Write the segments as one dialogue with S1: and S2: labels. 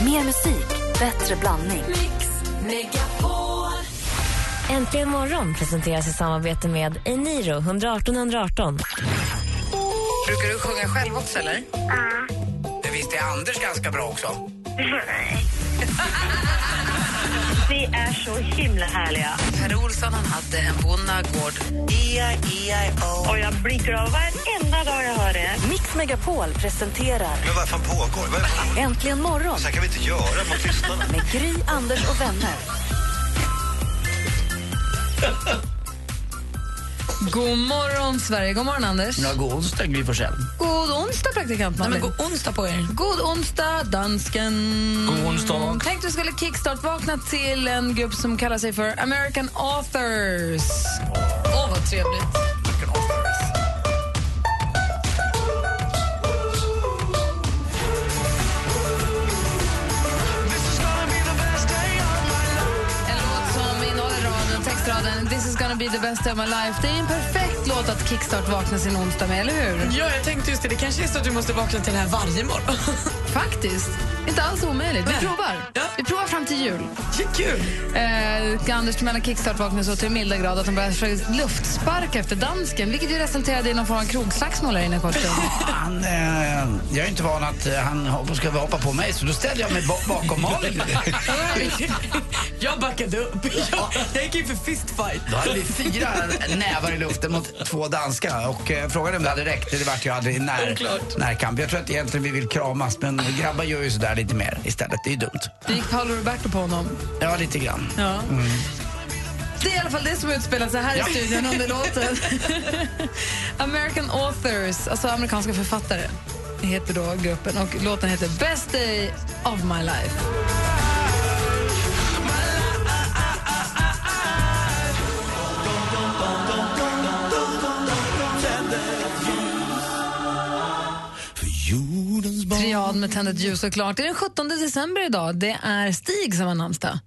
S1: Mer musik, bättre blandning.
S2: Mix Megapol.
S3: Äntligen morgon presenteras i samarbete med Eniro 118 118.
S4: Brukar du sjunga själv också eller?
S5: Ja.
S6: Det visste är Anders ganska bra också.
S5: Nej. Ni är så himla härliga.
S4: Per Olsson han hade en bonnagård. E-I-E-I-O.
S5: Och jag blinkar av varenda dag jag hör er.
S1: Mix Megapol presenterar
S7: Men vad fan pågår? Vad-
S1: Äntligen morgon
S7: Så här kan vi inte göra mot lyssnarna.
S1: med Gry, Anders och vänner.
S2: God morgon, Sverige. God morgon, Anders.
S8: Ja, god onsdag, Gry Forssell.
S2: God onsdag, praktikant
S4: Nej, men
S2: Malin.
S4: god onsdag på er.
S2: God onsdag, dansken.
S8: God onsdag.
S2: Tänkte du skulle kickstart-vakna till en grupp som kallar sig för American Authors. Åh, vad trevligt. En låt som innehåller raden, textraden This is gonna be the best day of my life. Det är en perfekt låt att kickstart-vakna sin onsdag med, eller hur?
S9: Ja, jag tänkte just det. Det kanske är så att du måste vakna till det här varje morgon.
S2: Faktiskt. Inte alls omöjligt. Vi
S9: Nej.
S2: provar.
S9: Ja.
S2: Vi provar fram till jul.
S9: Ja, Kul!
S2: Eh, Anders Timell kickstart vaknade så till den milda grad att han började försöka luftsparka efter dansken vilket ju resulterade i någon form av krogslagsmål här inne i kort stund.
S8: Han, eh, jag är inte van att eh, han hoppas ska hoppa på mig, så då ställer jag mig ba- bakom Malin.
S9: Jag backade upp. Jag, jag gick in för fistfight.
S8: Då hade vi fyra nävar i luften mot två danska och eh, frågan är om det hade räckt. Det vart ju aldrig när,
S9: Oklart.
S8: närkamp. Jag tror att egentligen vi vill kramas, men grabbar gör ju sådär lite mer istället. Det är ju dumt.
S2: Det gick Paolo Roberto på honom.
S8: Ja, lite grann.
S2: Ja. Det är i alla fall det som utspelar sig här i studion under låten. American Authors, alltså amerikanska författare, heter då gruppen. Och låten heter Best Day of My Life. Triad med tändet ljus såklart. Det är den 17 december idag. Det är Stig som har namnsdag.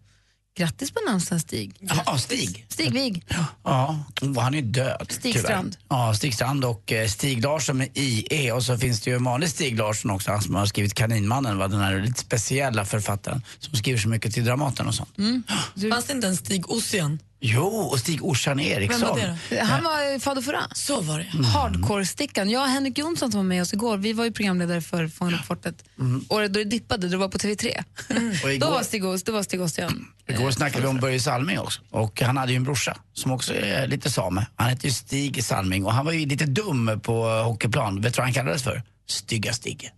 S2: Grattis på namnsdagen, Stig.
S8: Ja, Stig.
S2: Stig Wig.
S8: Ja, oh, han är död.
S2: Stig
S8: tyvärr.
S2: Strand.
S8: Ja, Stig Strand och eh, Stig Larsson med IE. Och så finns det ju en vanlig Stig Larsson också, han som har skrivit Kaninmannen, va? den här lite speciella författaren som skriver så mycket till Dramaten och
S9: Mm.
S8: sånt.
S9: Fanns det inte en Stig Ossian?
S8: Jo, och Stig Orsan Eriksson.
S9: Vem var det då?
S2: Han var eh, fader Fouras.
S9: Så var det.
S2: Mm. Hardcore-stickan. Jag och Henrik Jonsson som var med oss igår, vi var ju programledare för Fångarna på fortet. Året då det dippade, det var på TV3.
S8: Mm. Och
S2: Då
S8: igår-
S2: var Stig Ost- det var Stig Ostian.
S8: Igår snackade vi om Börje Salming också. Och han hade ju en brorsa som också är lite same. Han hette ju Stig Salming och han var ju lite dum på eh, hockeyplan. Vet du vad han kallades för? Stygga Stig.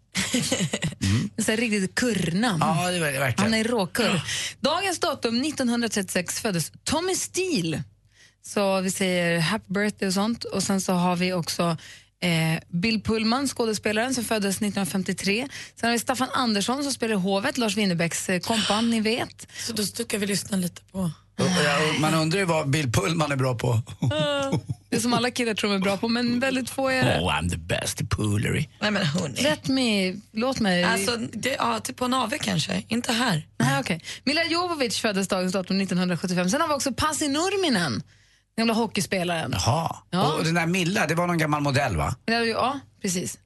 S2: Så här riktigt kurnan.
S9: Mm.
S8: Ja, det var det verkligen.
S2: Han är råkurr. Dagens datum 1936 föddes Tommy Steele. Så vi säger happy birthday och sånt. Och sen så har vi också eh, Bill Pullman, skådespelaren som föddes 1953. Sen har vi Staffan Andersson som spelar i Hovet, Lars Winnerbäcks eh, kompan, ni vet.
S9: Så då ska vi lyssna lite på...
S8: Och- och jag- Man undrar ju vad Bill Pullman är bra på.
S2: Det som alla killar tror de är bra på, men väldigt få är det.
S8: Oh, I'm the best poolery.
S9: Nej men hörni.
S2: Let me, låt mig...
S9: Alltså, det, ja, typ på en AV kanske. Inte här.
S2: Nej, okej. Mila Jovovich föddes dagens datum 1975. Sen har vi också Pasi Nurminen, den gamla hockeyspelaren.
S8: Jaha.
S2: Ja.
S8: Och den där Milla, det var någon gammal modell va?
S2: Ja, ja precis.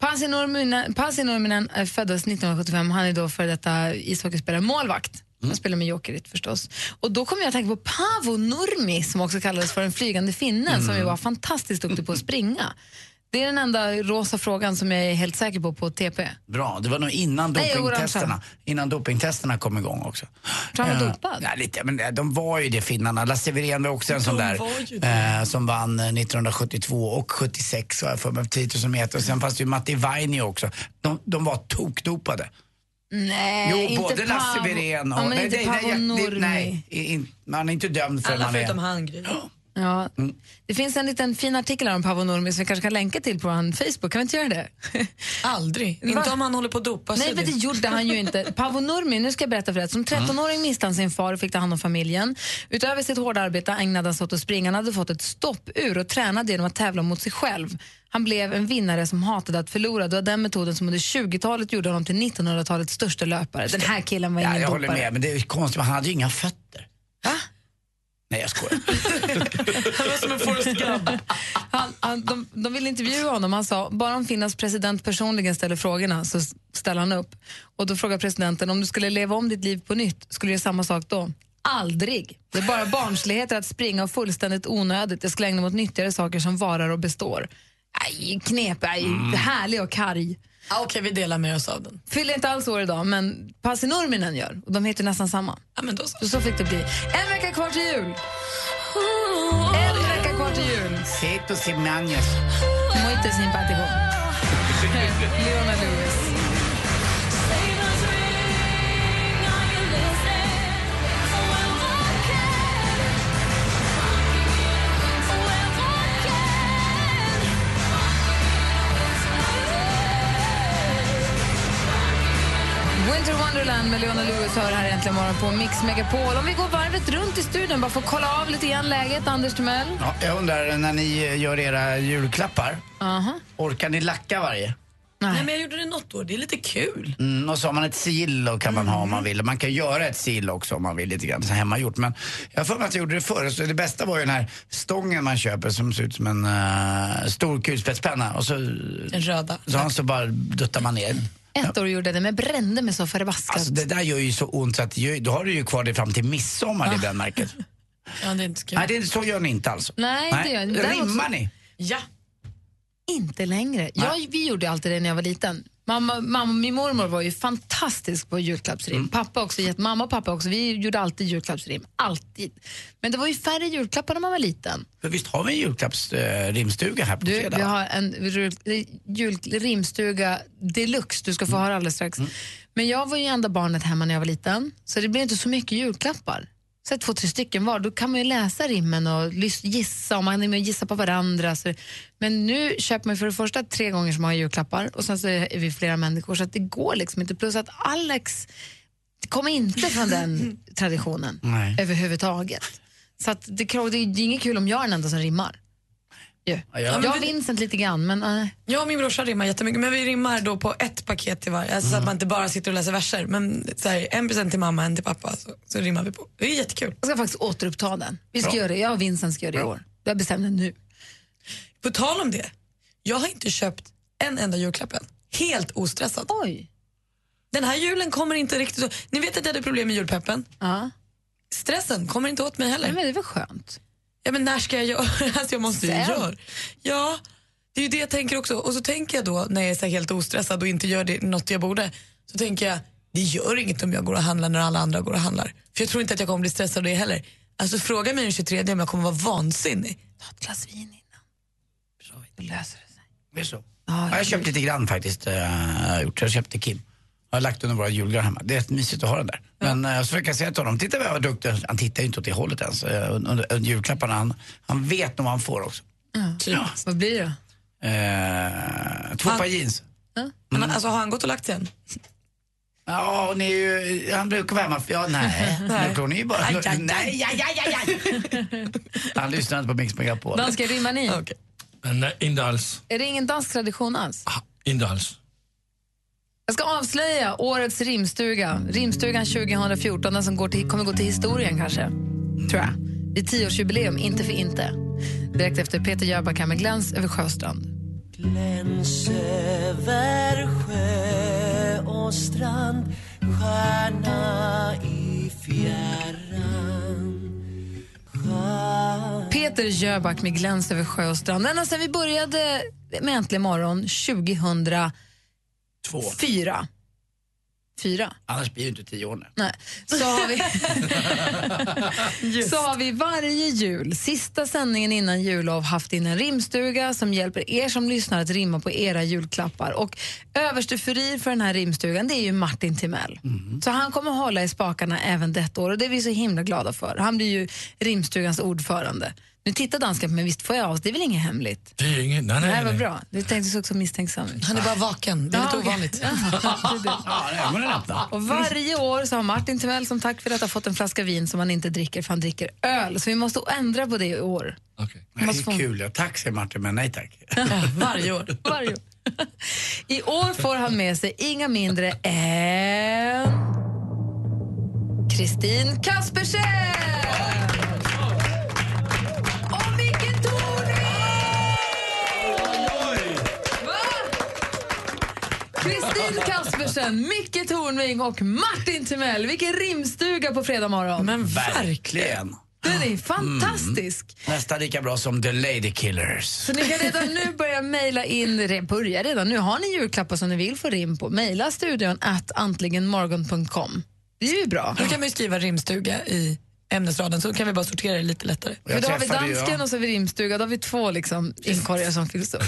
S2: Pasi Nurminen, Pasi Nurminen eh, föddes 1975. Han är då för detta ishockeyspelare, målvakt.
S8: Mm.
S2: Han spelar med Jokerit förstås. Och då kommer jag att tänka på Paavo Nurmi som också kallades för den flygande finnen som
S8: Mm.
S2: ju var fantastiskt duktig på att springa. Det är den enda rosa frågan som jag är helt säker på på TP.
S8: Bra, det var nog innan
S2: Nej,
S8: dopingtesterna,
S2: orangea.
S8: innan dopingtesterna kom igång också.
S2: Tror han var
S8: Eh,
S2: dopad?
S8: Nej, lite, men eh, de var ju det finnarna. Lasse Wirén var också en sån där
S9: var ju
S8: eh, som vann eh, 1972 och 76 har jag för mig, på 10 000 meter. Och sen fanns det ju Matti Vainio också. De, de var tokdopade.
S2: Nej,
S8: jo,
S2: Eh, inte
S8: både Lasse
S2: Paavo-
S8: Wirén och...
S2: Ja, men inte Paavo
S8: jag-
S2: Nurmi.
S8: nej, i- in, man är inte dömd för
S9: Alla
S8: man är...
S9: förutom han, Gry.
S2: Ja.
S8: Mm.
S2: Det finns en liten fin artikel här om Paavo Nurmi som vi kanske kan länka till på hans Facebook. Kan vi inte göra det?
S9: Aldrig. Inte om han håller på att dopa
S2: Nej,
S9: sig.
S2: men det gjorde han ju inte. Paavo Nurmi, nu ska jag berätta för dig. Som 13-åring
S8: Mm.
S2: miste han sin far och fick ta hand om familjen. Utöver sitt hårda arbete ägnade han sig åt att springa. Han hade fått ett stoppur och tränade genom att tävla mot sig själv. Han blev en vinnare som hatade att förlora. Det var den metoden som under 20-talet gjorde honom till 1900-talets största löpare. Den här killen var
S8: Ja,
S2: ingen
S8: jag håller
S2: dopare.
S8: med, men det är ju konstigt, han hade ju inga fötter. Va? Nej, jag skojar.
S9: Han var som en Forrest Gump.
S2: Han, han, de, de ville intervjua honom. Han sa bara om Finlands president personligen ställer frågorna så s- ställer han upp. Och Då frågar presidenten om du skulle leva om ditt liv på nytt, skulle du göra samma sak då? Aldrig. Det är bara barnsligheter att springa och fullständigt onödigt. Jag skulle ägna mig åt nyttigare saker som varar och består. Aj, knep, aj, härlig och karg.
S9: Ah, Okej, vi delar med oss av den.
S2: Fyller inte alls år idag, men Pasi Nurminen gör. Och de heter ju nästan samma.
S9: Ja, men då så.
S2: Så, så fick det bli. En vecka kvar till jul! En vecka kvar till jul!
S8: Sitt och simanjes.
S2: Muito simpático. Leona Lewis. Winter Wonderland med Leona Lewis hör här äntligen morgon på Mix Megapol. Om vi går varvet runt i studion bara för att kolla av lite grann läget, Anders Timell.
S8: Ja, jag undrar, när ni gör era julklappar,
S2: Aha.
S8: orkar ni lacka varje?
S9: Nej, men jag gjorde det något år. Det är lite kul.
S8: Mm, och så har man ett sigill och kan man ha om man vill. Man kan göra ett sigill också om man vill lite grann, så hemmagjort. Men jag har för mig att jag gjorde det förr. Så det bästa var ju den här stången man köper som ser ut som en eh, stor kulspetspenna. Och så,
S9: Den röda.
S8: så, har man så bara duttar man ner den.
S2: Ett år gjorde jag det, men jag brände mig så förbaskat.
S8: Alltså det där gör ju så ont så att ju- då har du ju kvar det fram till midsommar, det brännmärket.
S9: Ja, det är inte så kul.
S8: Nej, det, så gör ni inte alltså.
S2: Nej, det gör ni. Däremot-
S8: Rimmar ni?
S9: Ja.
S2: Inte längre. Jag, vi gjorde ju alltid det när jag var liten. Mamma, mamma, min mormor var ju fantastisk på julklappsrim.
S8: Mm.
S2: Pappa också, jätte- mamma och pappa också. Vi gjorde alltid julklappsrim. Alltid. Men det var ju färre julklappar när man var liten.
S8: För visst har vi en julklappsrimstuga här på
S2: Du,
S8: fredag?
S2: vi
S8: va?
S2: har en jul, jul, rimstuga deluxe. Du ska få höra alldeles
S8: Mm.
S2: strax. Men jag var ju enda barnet hemma när jag var liten, så det blev inte så mycket julklappar. Så två, tre stycken var. Då kan man ju läsa rimmen och lys- gissa om man är med och gissa på varandra. Så, men nu köper man för det första tre gånger så många julklappar och sen så är vi flera människor så att det går liksom inte. Plus att Alex kommer inte från den traditionen
S8: Nej.
S2: överhuvudtaget. Så att det, kro- det är inget kul om jag är den enda som rimmar. Ju.
S8: Ja, jag-
S2: Jag och Vincent lite grann, men eh,
S9: Jag och min brorsa rimmar jättemycket, men vi rimmar då på ett paket till varje. Alltså, Så att man inte bara sitter och läser verser. Men så här, en present till mamma, en till pappa, så, så rimmar vi på. Det är jättekul.
S2: jag ska faktiskt återuppta den. Vi ska göra det. Jag och Vincent ska göra det i år. Jag bestämde nu.
S9: På tal om det, jag har inte köpt en enda julklapp än. Helt ostressad.
S2: Oj!
S9: Den här julen kommer inte riktigt så. Ni vet att jag hade problem med julpeppen.
S2: Ja.
S9: Stressen kommer inte åt mig
S2: Nej,
S9: heller.
S2: men det var skönt.
S9: Ja, men när ska jag göra? Alltså, jag måste ju
S2: Sen.
S9: göra. Ja, det är ju det jag tänker också. Och så tänker jag då när jag är så här helt ostressad och inte gör det, något jag borde, så tänker jag det gör inget om jag går och handlar när alla andra går och handlar. För jag tror inte att jag kommer bli stressad av det heller. Alltså fråga mig den 23 om jag kommer vara vansinnig.
S2: Ta ett glas vin innan. Bra, då löser det sig.
S8: Det är så.
S2: Ja,
S8: Ja, jag har köpt lite grann faktiskt. eh, jag har gjort. Jag köpte Kim. Jag har lagt under våra julgran hemma. Det är mysigt att ha den där. Men eh, så försöker jag säga till honom, titta vad jag var duktig. Han tittar ju inte åt det hållet ens. eh, Under, under julklapparna, han, han vet nog vad han får också.
S9: Typ.
S8: Ja.
S2: Vad blir det?
S8: Eh, två
S9: Han-
S8: par jeans.
S9: Men, alltså har han gått och lagt sig än?
S8: Ja, hon är ju, han brukar vara hemma. för- Ja, nej. nej. Hon är ju bara...
S9: Aj, aj, aj.
S8: Nej, aj, aj, aj, aj. Han lyssnar inte på Mix Megapol.
S2: Danska rimmar ni?
S9: Okej.
S10: Nej, inte alls.
S2: Är det ingen dansk tradition alls?
S10: Ah, Inte alls.
S2: Jag ska avslöja årets rimstuga. Rimstugan 2014, den som går till, kommer gå till historien kanske. Tror jag. Det är tioårsjubileum, inte för inte. Direkt efter Peter Jöback här med Gläns över Sjöstrand. Peter Jöback med Gläns över sjö och strand. Ända sedan vi började med Äntligen morgon 2004.
S8: Två.
S2: Fyra?
S8: Annars blir det ju inte tio år nu.
S2: Nej. Så har vi, så har vi varje jul, sista sändningen innan jullov, haft in en rimstuga som hjälper er som lyssnar att rimma på era julklappar. Och överste furir för den här rimstugan det är ju Martin Timell.
S10: Mm.
S2: Så han kommer hålla i spakarna även detta år och det är vi så himla glada för. Han blir ju rimstugans ordförande. Nu tittar dansken på mig, visst får jag av det är väl inget hemligt?
S10: Det är inget. Nej, nej,
S2: Det här var
S10: nej.
S2: bra, det tänkte jag också misstänksam ut.
S9: Han är bara vaken, det är lite
S2: Ja, okej.
S9: ovanligt.
S8: Ja, ögonen är öppna.
S2: Och varje år så har Martin Timell som tack för detta fått en flaska vin som han inte dricker för han dricker öl. Så vi måste ändra på det i år.
S10: Okej.
S8: Det
S2: Måste få-
S8: är kul. Ja. Tack, säger Martin, men nej tack.
S9: Varje år.
S2: Varje år. I år får han med sig inga mindre än Kristin Kaspersen! David Kaspersen, Micke Tornving och Martin Timell. Vilken rimstuga på fredag morgon.
S9: Men verkligen.
S8: Verkligen.
S2: Den är fantastisk.
S8: Nästan lika bra som The Lady Killers.
S2: Så ni kan redan nu börja mejla in, re- börja redan nu, har ni julklappar som ni vill få rim på, mejla studion att antligenmorgon.com. Det är ju bra.
S9: Då kan vi skriva rimstuga i ämnesraden så kan vi bara sortera det lite lättare.
S8: Och
S2: För då har vi
S8: träffade ju-
S2: dansken och så har vi rimstuga, då har vi två liksom inkorgar som fylls upp.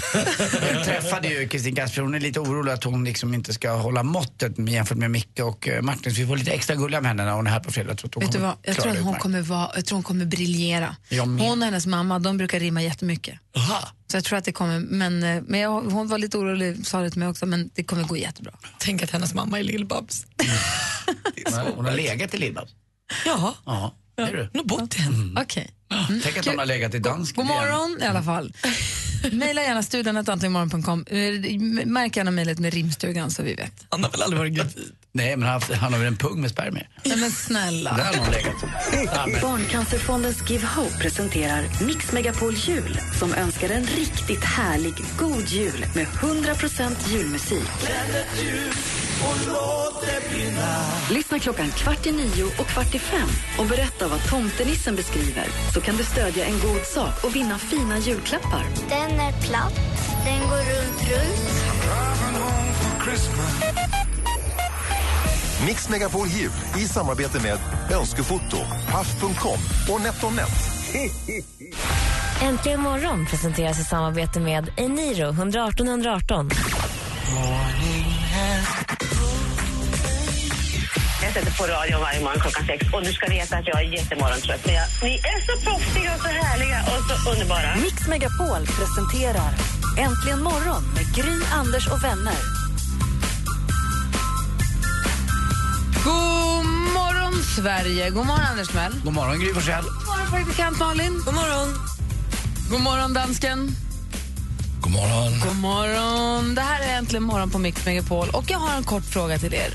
S8: Jag träffade ju Kristin Kasper, hon är lite orolig att hon liksom inte ska hålla måttet med- jämfört med Micke och eh, Martin. Så vi får lite extra gulliga med henne när hon är här på fredag. Jag tror att hon
S2: Vet du vad?
S8: kommer
S2: Jag
S8: klara
S2: tror, att
S8: det
S2: hon
S8: utmärkt.
S2: kommer vara, jag tror hon kommer briljera.
S8: Jag med.
S2: Hon och hennes mamma, de brukar rimma jättemycket.
S8: Aha.
S2: Så jag tror att det kommer, men, eh, men jag, hon var lite orolig, sa det till mig också, men det kommer gå jättebra.
S9: Tänk att hennes mamma är Lill-Babs.
S8: Hon har legat i Lindab.
S9: Jaha,
S8: Ja, det är du.
S9: hon har bott i henne.
S8: Mm.
S2: Okej.
S8: Tänk att hon har legat i dansk.
S2: Mm. God
S8: igen.
S2: morgon i alla fall. Mejla gärna studion att antligenmorgon.com. Eh, Märk gärna mejlet med rimstugan så vi vet.
S9: Han har väl aldrig varit gravid?
S8: Nej, men han, han har väl en pung med spermier.
S2: Nej, men
S8: Där
S2: snälla.
S8: har hon legat.
S1: Barncancerfondens Give Hope presenterar Mix Megapol Jul som önskar en riktigt härlig god jul med 100% julmusik. Lyssna klockan kvart i nio och kvart i fem och berätta vad tomtenissen beskriver så kan du stödja en god sak och vinna fina julklappar.
S11: Den är platt, den går runt, runt.
S7: Mix Megapol Jul i samarbete med Önskefoto, Paff.com och NetOnNet.
S3: Äntligen morgon presenteras i samarbete med Eniro 118 118.
S5: Jag sätter på radion varje morgon klockan sex och du ska veta att jag är jättemorgontrött. Men jag, ni är så proffsiga och så härliga och så underbara.
S1: Mix Megapol presenterar Äntligen morgon med Gry, Anders och vänner.
S2: God morgon, Sverige. God morgon, Anders Mell.
S8: God morgon, Gry Forssell.
S2: God morgon, praktikant Malin.
S9: God morgon.
S2: God morgon, dansken.
S10: God morgon.
S2: God morgon. Det här är Äntligen morgon på Mix Megapol och jag har en kort fråga till er.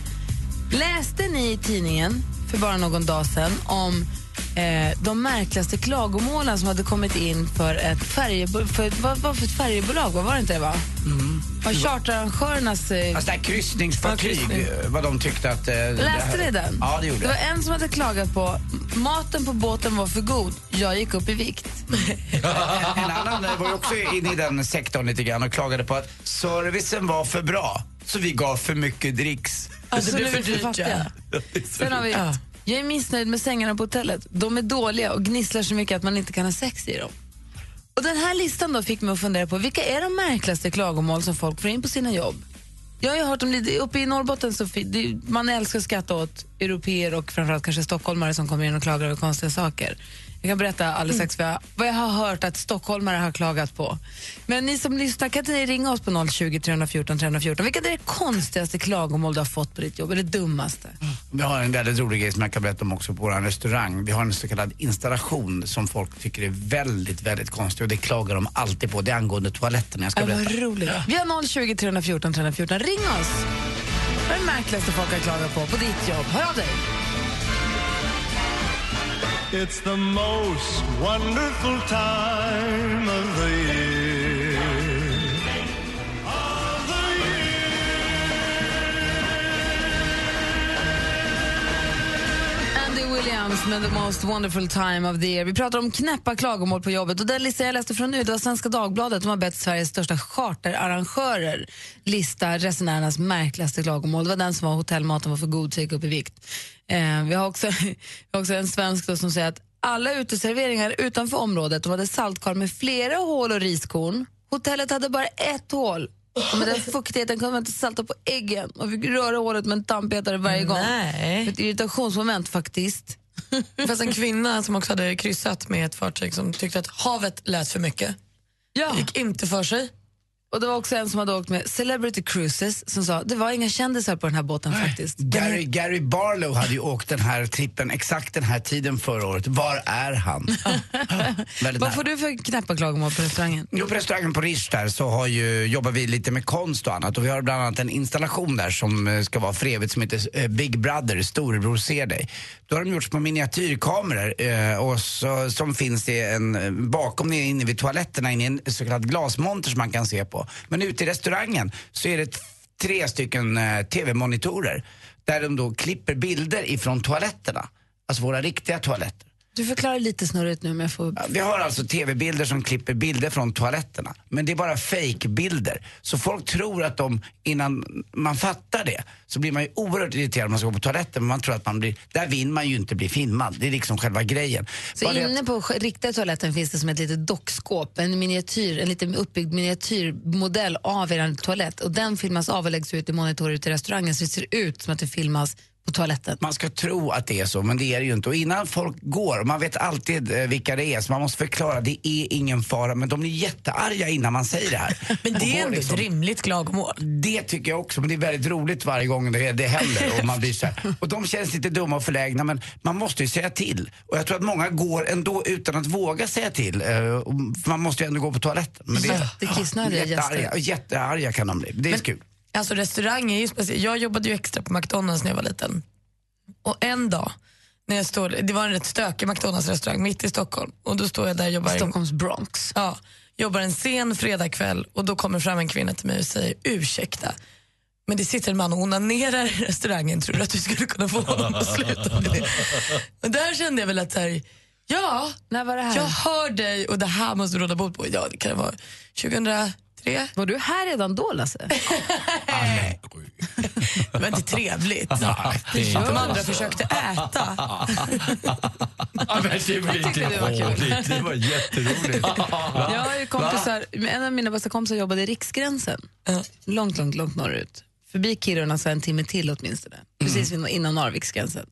S2: Läste ni i tidningen för bara någon dag sedan om eh, de märkligaste klagomålen som hade kommit in för ett, färjebo- för ett, vad, vad för ett färjebolag? Vad var det inte Mm. det va? Var charterarrangörernas... Eh,
S8: Alltså det här kryssningsfartyg,
S2: Ja, kryssning.
S8: eh, vad de tyckte att... eh, det
S2: Läste
S8: här-
S2: ni den?
S8: Ja, det gjorde
S2: Det var
S8: jag.
S2: en som hade klagat på maten på båten var för god, jag gick upp i vikt.
S8: En annan eh, var ju också inne i den sektorn lite grann och klagade på att servicen var för bra, så vi gav för mycket dricks.
S2: Alltså, nu
S9: blev för
S2: vet du,
S9: dyrt,
S2: fattar jag. Sen har vi
S9: Ja.
S2: Jag är missnöjd med sängarna på hotellet. De är dåliga och gnisslar så mycket att man inte kan ha sex i dem. Och den här listan då fick mig att fundera på vilka är de märkligaste klagomål som folk får in på sina jobb? Jag har ju hört om lite, uppe i Norrbotten så fi- det, man älskar att skratta åt europeer och framförallt kanske stockholmare som kommer in och klagar över konstiga saker. Jag kan berätta alldeles
S8: Mm.
S2: strax vad jag, vad jag har hört att stockholmare har klagat på. Men ni som lyssnar, kan inte ni ringa oss på 020 314 314? Vilket är det konstigaste klagomål du har fått på ditt jobb? Eller det dummaste?
S8: Vi har en väldigt rolig grej som jag kan berätta om också på vår restaurang. Vi har en så kallad installation som folk tycker är väldigt, väldigt konstig och det klagar de alltid på. Det är angående toaletten jag ska
S2: Ja,
S8: berätta.
S2: vad roligt. Vi har 020 314 314. Ring oss. Vad är det märkligaste folk har klagat på på ditt jobb? Hör av dig.
S7: It's the most wonderful time of the year.
S2: Andy Williams med The Most Wonderful Time of the Year. Vi pratar om knäppa klagomål på jobbet. Och den lista jag läste från nu det var Svenska Dagbladet. De har bett Sveriges största charterarrangörer lista resenärernas märkligaste klagomål. Det var den som var hotellmaten var för god så gick upp i vikt. Eh, vi, har också, vi har också en svensk då som säger att alla uteserveringar utanför området de hade saltkar med flera hål och riskorn. Hotellet hade bara ett hål. Och med den fuktigheten kunde man inte salta på äggen och fick röra hålet med en tandpetare varje gång.
S9: Nej.
S2: Ett irritationsmoment faktiskt.
S9: Det fanns en kvinna som också hade kryssat med ett fartyg som tyckte att havet lät för mycket.
S2: Ja.
S9: Gick inte för sig.
S2: Och det var också en som hade åkt med Celebrity Cruises som sa det var inga kändisar på den här båten faktiskt.
S8: Gary, Gary Barlow hade ju åkt den här trippen exakt den här tiden förra året. Var är han?
S2: Vad
S8: väldigt nära.
S2: får du för knäppa klagomål på restaurangen?
S8: Jo, på restaurangen på Rish där så har ju, jobbar vi lite med konst och annat. Och vi har bland annat en installation där som eh, ska vara för evigt som heter eh, Big Brother, Storebror ser dig. Då har de gjort små miniatyrkameror eh, och så, som finns i en, eh, bakom nere inne vid toaletterna inne i en så kallad glasmonter som man kan se på. Men ute i restaurangen så är det ett tre stycken eh, TV-monitorer där de då klipper bilder ifrån toaletterna. Alltså våra riktiga toaletter.
S2: Du förklarar lite snurrigt nu om jag får...
S8: Vi har alltså tv-bilder som klipper bilder från toaletterna. Men det är bara fake-bilder. Så folk tror att de, innan man fattar det, så blir man ju oerhört irriterad om man ska gå på toaletten. Men man tror att man blir, där vill man ju inte bli filmad. Det är liksom själva grejen.
S2: Så
S8: Bara det att-
S2: inne på sk- riktiga toaletten finns det som ett litet dockskåp, en miniatyr, en liten uppbyggd miniatyrmodell av er toalett och den filmas av och läggs ut i monitorer ute i restaurangen så det ser ut som att det filmas på toaletten.
S8: Man ska tro att det är så, men det är det ju inte. Och innan folk går, man vet alltid eh, vilka det är, så man måste förklara, det är ingen fara, men de blir jättearga innan man säger det här. Men
S9: det är ändå ett rimligt klagomål.
S8: liksom- Det tycker jag också, men det är väldigt roligt varje gång det, det händer. Och, man blir så här. och de känns lite dumma och förlägna, men man måste ju säga till. Och jag tror att många går ändå utan att våga säga till, eh, och- för man måste ju ändå gå på toaletten. Men
S9: Jättekissnödiga gäster.
S8: jättearga, jättearga kan de bli, det är kul.
S9: Alltså restaurang är ju speciellt. Jag jobbade ju extra på McDonalds när jag var liten. Och en dag, när jag står, det var en rätt stökig McDonalds-restaurang mitt i Stockholm. Och då står jag där och jobbar...
S2: Stockholms Bronx.
S9: Ja, jobbar en sen fredagkväll och då kommer fram en kvinna till mig och säger ursäkta, men det sitter en man och onanerar i restaurangen. Tror du att du skulle kunna få honom att sluta med det? Och där kände jag väl att så här, ja,
S2: När var det här?
S9: jag hör dig och det här måste du råda bot på. Ja, det kan vara 2003.
S2: Var du här redan då, Lasse?
S9: Det var inte trevligt.
S2: det
S9: De andra
S2: var så.
S9: försökte äta.
S12: Ja, men det var
S2: tyckte det var kul.
S12: roligt. Det var jätteroligt.
S2: Jag har ju kompisar, en av mina bästa kompisar jobbade i Riksgränsen. Långt, långt, långt norrut. Förbi Kiruna så en timme till åtminstone. Precis vid- innan Narviksgränsen.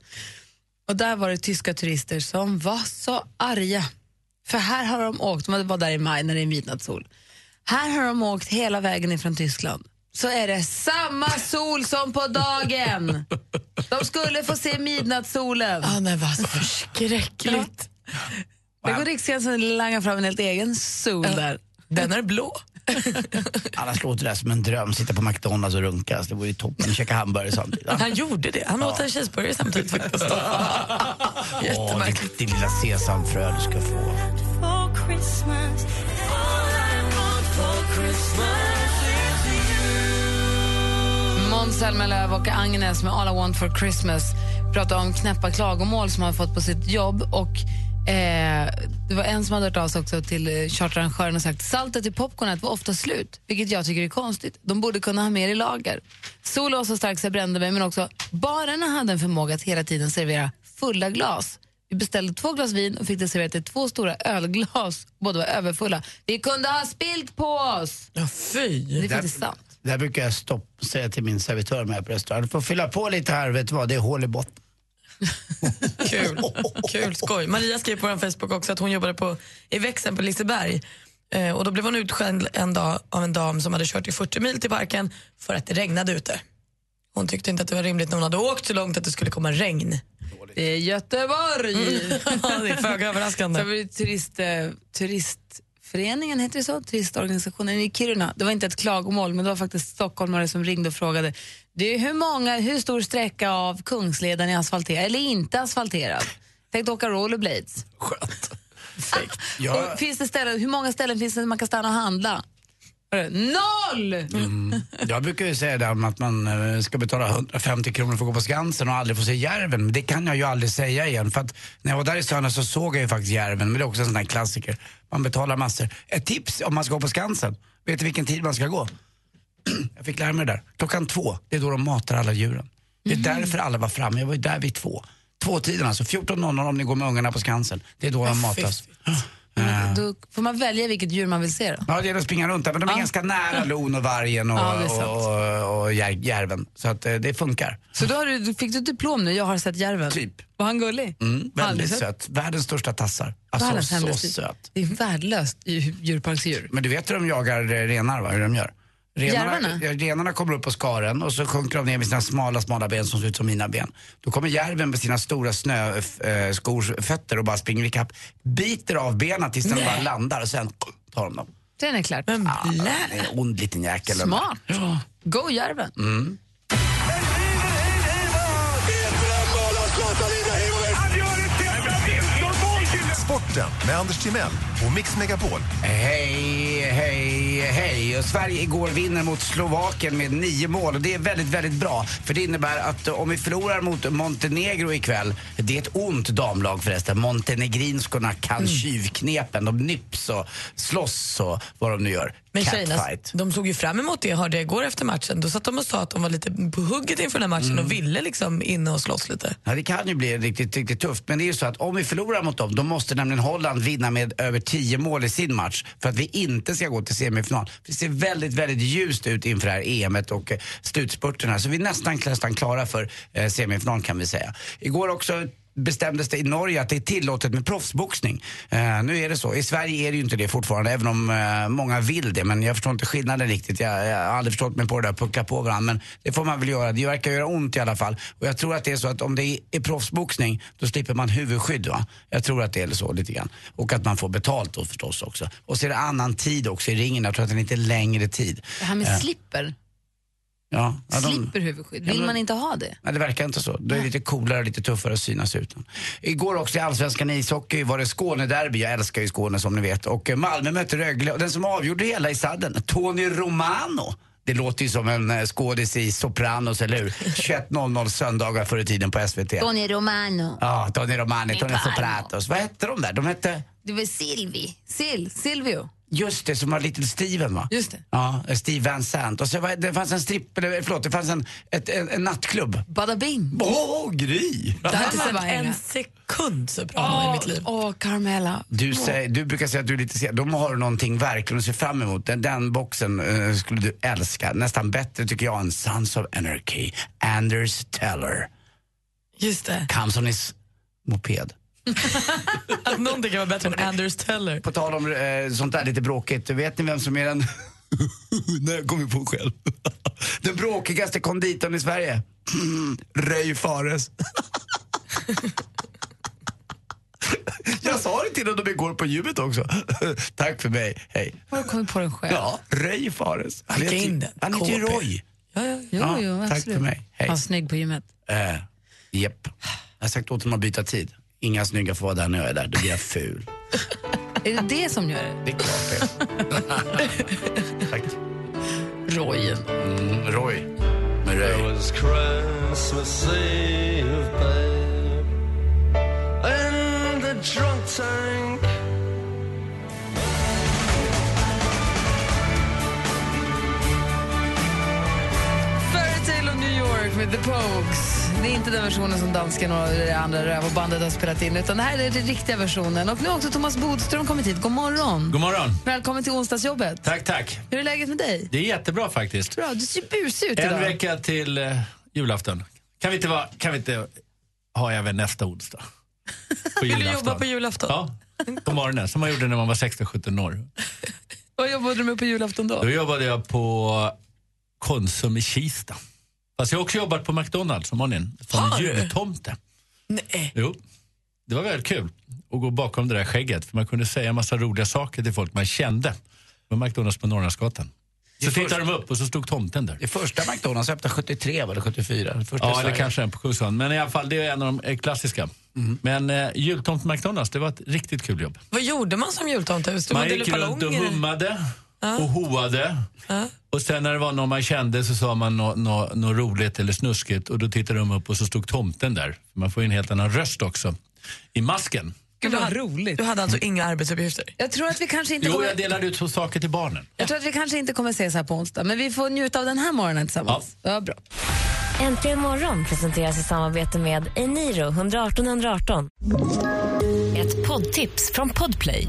S2: Och där var det tyska turister som var så arga. För här har de åkt, de var där i maj när det är midnattssol. Här har de åkt hela vägen ifrån Tyskland. Så är det samma sol som på dagen. De skulle få se midnattssolen. Ja,
S9: men vad förskräckligt.
S2: Det går Riksgränsen och langar fram en helt egen sol där.
S9: Den är blå.
S8: Annars låter det här som en dröm, sitta på McDonalds och runka. Så Det vore ju toppen, käka hamburgare samtidigt.
S9: Han gjorde det. Han åt en cheeseburgare samtidigt faktiskt.
S8: Åh, ditt, ditt lilla sesamfrö du ska få.
S2: Måns Zelmerlöw och Agnes med All I want for Christmas pratar om knäppa klagomål som han fått på sitt jobb. Och eh, Det var en som hade hört av sig också till eh, charterarrangören och sagt saltet i popcornet var ofta slut, vilket jag tycker är konstigt. De borde kunna ha mer i lager. Sol var så stark så jag brände mig, men också barerna hade en förmåga att hela tiden servera fulla glas. Vi beställde två glas vin och fick det serverat i två stora ölglas. Båda var överfulla. Vi kunde ha spilt på oss!
S9: Ja, fy!
S2: Det är faktiskt sant.
S8: Det här brukar jag stopp, säga till min servitör med på restaurangen. Du får fylla på lite här, vet du vad, det är hål i botten.
S9: Kul. Kul skoj. Maria skrev på vår Facebook också att hon jobbade på, i växeln på Liseberg. Eh, och då blev hon utskälld en dag av en dam som hade kört i 40 mil till parken för att det regnade ute. Hon tyckte inte att det var rimligt när hon hade åkt så långt att det skulle komma regn. Mm.
S2: Det är Göteborg!
S9: Ja, det är föga överraskande.
S2: Så har vi turist, eh, turistföreningen, heter det så? Turistorganisationen i Kiruna. Det var inte ett klagomål, men det var faktiskt stockholmare som ringde och frågade det är hur, många, hur stor sträcka av Kungsleden är asfalterad eller inte asfalterad? Tänkte åka rollerblades. Skönt.
S8: Jag-
S2: Ah, och finns det ställen, hur många ställen finns det där man kan stanna och handla? Var det Noll!
S8: Mm. Jag brukar ju säga det här med att man eh, ska betala 150 kronor för att gå på Skansen och aldrig få se järven. Men det kan jag ju aldrig säga igen. För att när jag var där i söndags så såg jag ju faktiskt järven. Men det är också en sån där klassiker. Man betalar massor. Ett tips om man ska gå på Skansen. Vet du vilken tid man ska gå? Jag fick lära mig det där. Klockan två, det är då de matar alla djuren. Det är därför alla var framme. Jag var ju där vid två. Tvåtiden alltså. 14.00 om ni går med ungarna på Skansen. Det är då de
S9: Äh,
S8: matas. Eh,
S2: Då får man välja vilket djur man vill se då.
S8: Ja, det är att springa runt där, men de är ganska nära lon och vargen och,
S2: Ja, det är sant.
S8: och, och, och jär- järven. Så att eh, det funkar.
S2: Så då har du, fick du ett diplom nu, jag har sett järven?
S8: Typ.
S2: Var han gullig?
S8: Mm,
S2: Aldrig
S8: väldigt
S2: sett.
S8: söt. Världens största tassar.
S2: Världens
S8: Alltså så
S2: hemligaste djur.
S8: söt.
S2: Det är värdelöst djur- djurparksdjur.
S8: Men du vet hur de jagar eh, renar, va? hur de gör? Renarna,
S2: Järvarna?
S8: ja, renarna kommer upp på skaren och så sjunker de ner med sina smala, smala ben som ser ut som mina ben. Då kommer järven med sina stora snöskors fötter och bara springer ikapp, biter av benen tills den
S2: Nej.
S8: bara landar och sen tar de dem.
S2: Sen är det klart.
S8: Ah, en ond liten jäkel. den där.
S2: Smart. Go Järven.
S8: Mm.
S7: Sport Sporten med Anders Timell och Mix Megapol.
S8: Hej, hej, hej. Och Sverige igår vinner mot Slovakien med nio mål och det är väldigt, väldigt bra. För det innebär att eh, om vi förlorar mot Montenegro ikväll, det är ett ont damlag förresten. Montenegrinskorna kan tjuvknepen. De nyps och slåss och vad de nu gör.
S9: Men tjejerna,
S8: Catfight.
S9: de såg ju fram emot det, jag hörde igår efter matchen. Då satt de och sa att de var lite på hugget inför den här matchen
S8: Mm.
S9: och ville liksom in och slåss lite.
S8: Ja, det kan ju bli riktigt, riktigt tufft. Men det är ju så att om vi förlorar mot dem, då måste nämligen Holland vinna med över 10 mål i sin match för att vi inte ska gå till semifinal. För Det ser väldigt, väldigt ljust ut inför det här EMet och eh, slutspurterna. Så vi är nästan, nästan klara för eh, semifinal kan vi säga. Igår också bestämdes det i Norge att det är tillåtet med proffsboxning. Eh, nu är det så. I Sverige är det ju inte det fortfarande, även om eh, många vill det. Men jag förstår inte skillnaden riktigt. Jag, jag har aldrig förstått mig på det där puckla på varandra. Men det får man väl göra. Det verkar göra ont i alla fall. Och jag tror att det är så att om det är, är proffsboxning, då slipper man huvudskydd va? Jag tror att det är så lite grann. Och att man får betalt då förstås också. Och så är det annan tid också i ringen. Jag tror att det är lite längre tid.
S2: Det här med
S8: Eh,
S2: slipper,
S8: Ja, ja, de-
S2: slipper huvudskydd.
S8: Ja,
S2: Vill
S8: men-
S2: man inte ha det?
S8: Nej, det verkar inte så. Det är lite coolare och lite tuffare att synas utan. Igår också i Allsvenskan i ishockey var det Skånederby. Jag älskar ju Skåne som ni vet. Och eh, Malmö mötte Rögle och den som avgjorde det hela i sadden, Tony Romano. Det låter ju som en eh, skådis i Sopranos, eller hur? 21.00 söndagar förr i tiden på SVT.
S13: Tony Romano.
S8: Ja, Tony Romani, Tony
S13: Palmo.
S8: Sopranos. Vad hette de där? De hette...
S13: Det var Silvi.
S2: Sil, Silvio.
S8: Just det, som var Little Steven va?
S2: Just det.
S8: Ja, eh, Steve Van Sant. Och så var, det fanns en stripp, eller förlåt, det fanns en, ett, en, en nattklubb.
S2: Bada bing!
S8: Åh, Gry!
S9: Det har inte sett en sekund så bra i mitt liv.
S2: Åh, Carmela.
S8: Du, säger, du brukar säga att du är lite sen. De har någonting verkligen att se fram emot. Den, den boxen eh, skulle du älska. Nästan bättre tycker jag än Sons of Anarchy. Anders Teller.
S9: Just det.
S8: Kamsonis moped.
S9: Att någonting kan vara bättre än Anders Teller.
S8: På tal om eh, sånt där lite bråkigt, vet ni vem som är den... Nej, jag kom ju på själv. den bråkigaste konditorn i Sverige. Röj Fares. jag sa det till honom igår på gymmet också. Tack för mig, hej.
S2: Har du kommit på den själv?
S8: Ja, Röj Fares. Han
S2: Skicka
S8: heter
S2: in
S8: ju-
S2: den,
S8: han heter ju
S2: KP.
S8: Roy.
S2: Ja, ja, jo,
S8: Ja,
S2: jo,
S8: tack
S2: absolut.
S8: för mig.
S2: Han
S8: Hej.
S2: var snygg på gymmet.
S8: Eh, Japp. Jag har sagt åt honom att byta tid. Inga snygga får vara där när jag är där, då blir jag ful.
S2: Är det det som gör det?
S8: Det är klart det. Tack.
S2: Roy.
S8: Mm, Roy. Med Roy.
S2: Fairy Tale of New York med The Pogues. Det är inte den versionen som dansken och det andra rövarbandet har spelat in utan det här är den riktiga versionen. Och nu har också Thomas Bodström kommit hit. God morgon!
S12: God morgon.
S2: Välkommen till onsdagsjobbet.
S12: Tack, tack.
S2: Hur är läget med dig?
S12: Det är jättebra faktiskt.
S2: Bra, du ser busig ut
S12: En
S2: idag.
S12: vecka till eh, julafton. Kan vi inte, vara, kan vi inte ha även nästa onsdag? På
S9: Vill du
S12: julafton.
S9: jobba på julafton?
S12: Ja, på morgonen. Som man gjorde när man var 16-17 år.
S2: Vad jobbade du med på julafton då?
S12: Då jobbade jag på Konsum i Kista. Fast jag har också jobbat på McDonalds om morgonen.
S9: Har
S12: Som
S9: du?
S12: jultomte.
S9: Nej.
S12: Jo. Det var väldigt kul att gå bakom det där skägget. För man kunde säga en massa roliga saker till folk man kände. Det var McDonalds på Norrlandsgatan. Så tittade de upp och så stod tomten där.
S8: Det första McDonalds öppnade 73 var det 74? Det första i
S12: Ja, eller
S8: Sverige.
S12: kanske en på Kungsholmen. Men i alla fall, det är en av de eh, klassiska. Men eh, jultomt McDonalds, det var ett riktigt kul jobb.
S9: Vad gjorde man som jultomte? Stod
S12: Man
S9: och
S12: gick
S9: delade
S12: runt och
S9: ballonger?
S12: hummade
S9: Ja.
S12: och hoade.
S9: Ja.
S12: Och sen när det var någon man kände så sa man något nå, nå roligt eller snuskigt och då tittade de upp och så stod tomten där. Man får ju en helt annan röst också i masken.
S9: Gud, vad roligt. Du hade alltså inga arbetsuppgifter?
S2: Jag tror att vi kanske inte
S12: Jo,
S2: kommer...
S12: jag delade ut så saker till barnen.
S2: Jag tror att vi kanske inte kommer ses här på onsdag, men vi får njuta av den här morgonen tillsammans. Ja. bra.
S3: Äntligen morgon presenteras i samarbete med Eniro 118 118. Ett poddtips från Podplay.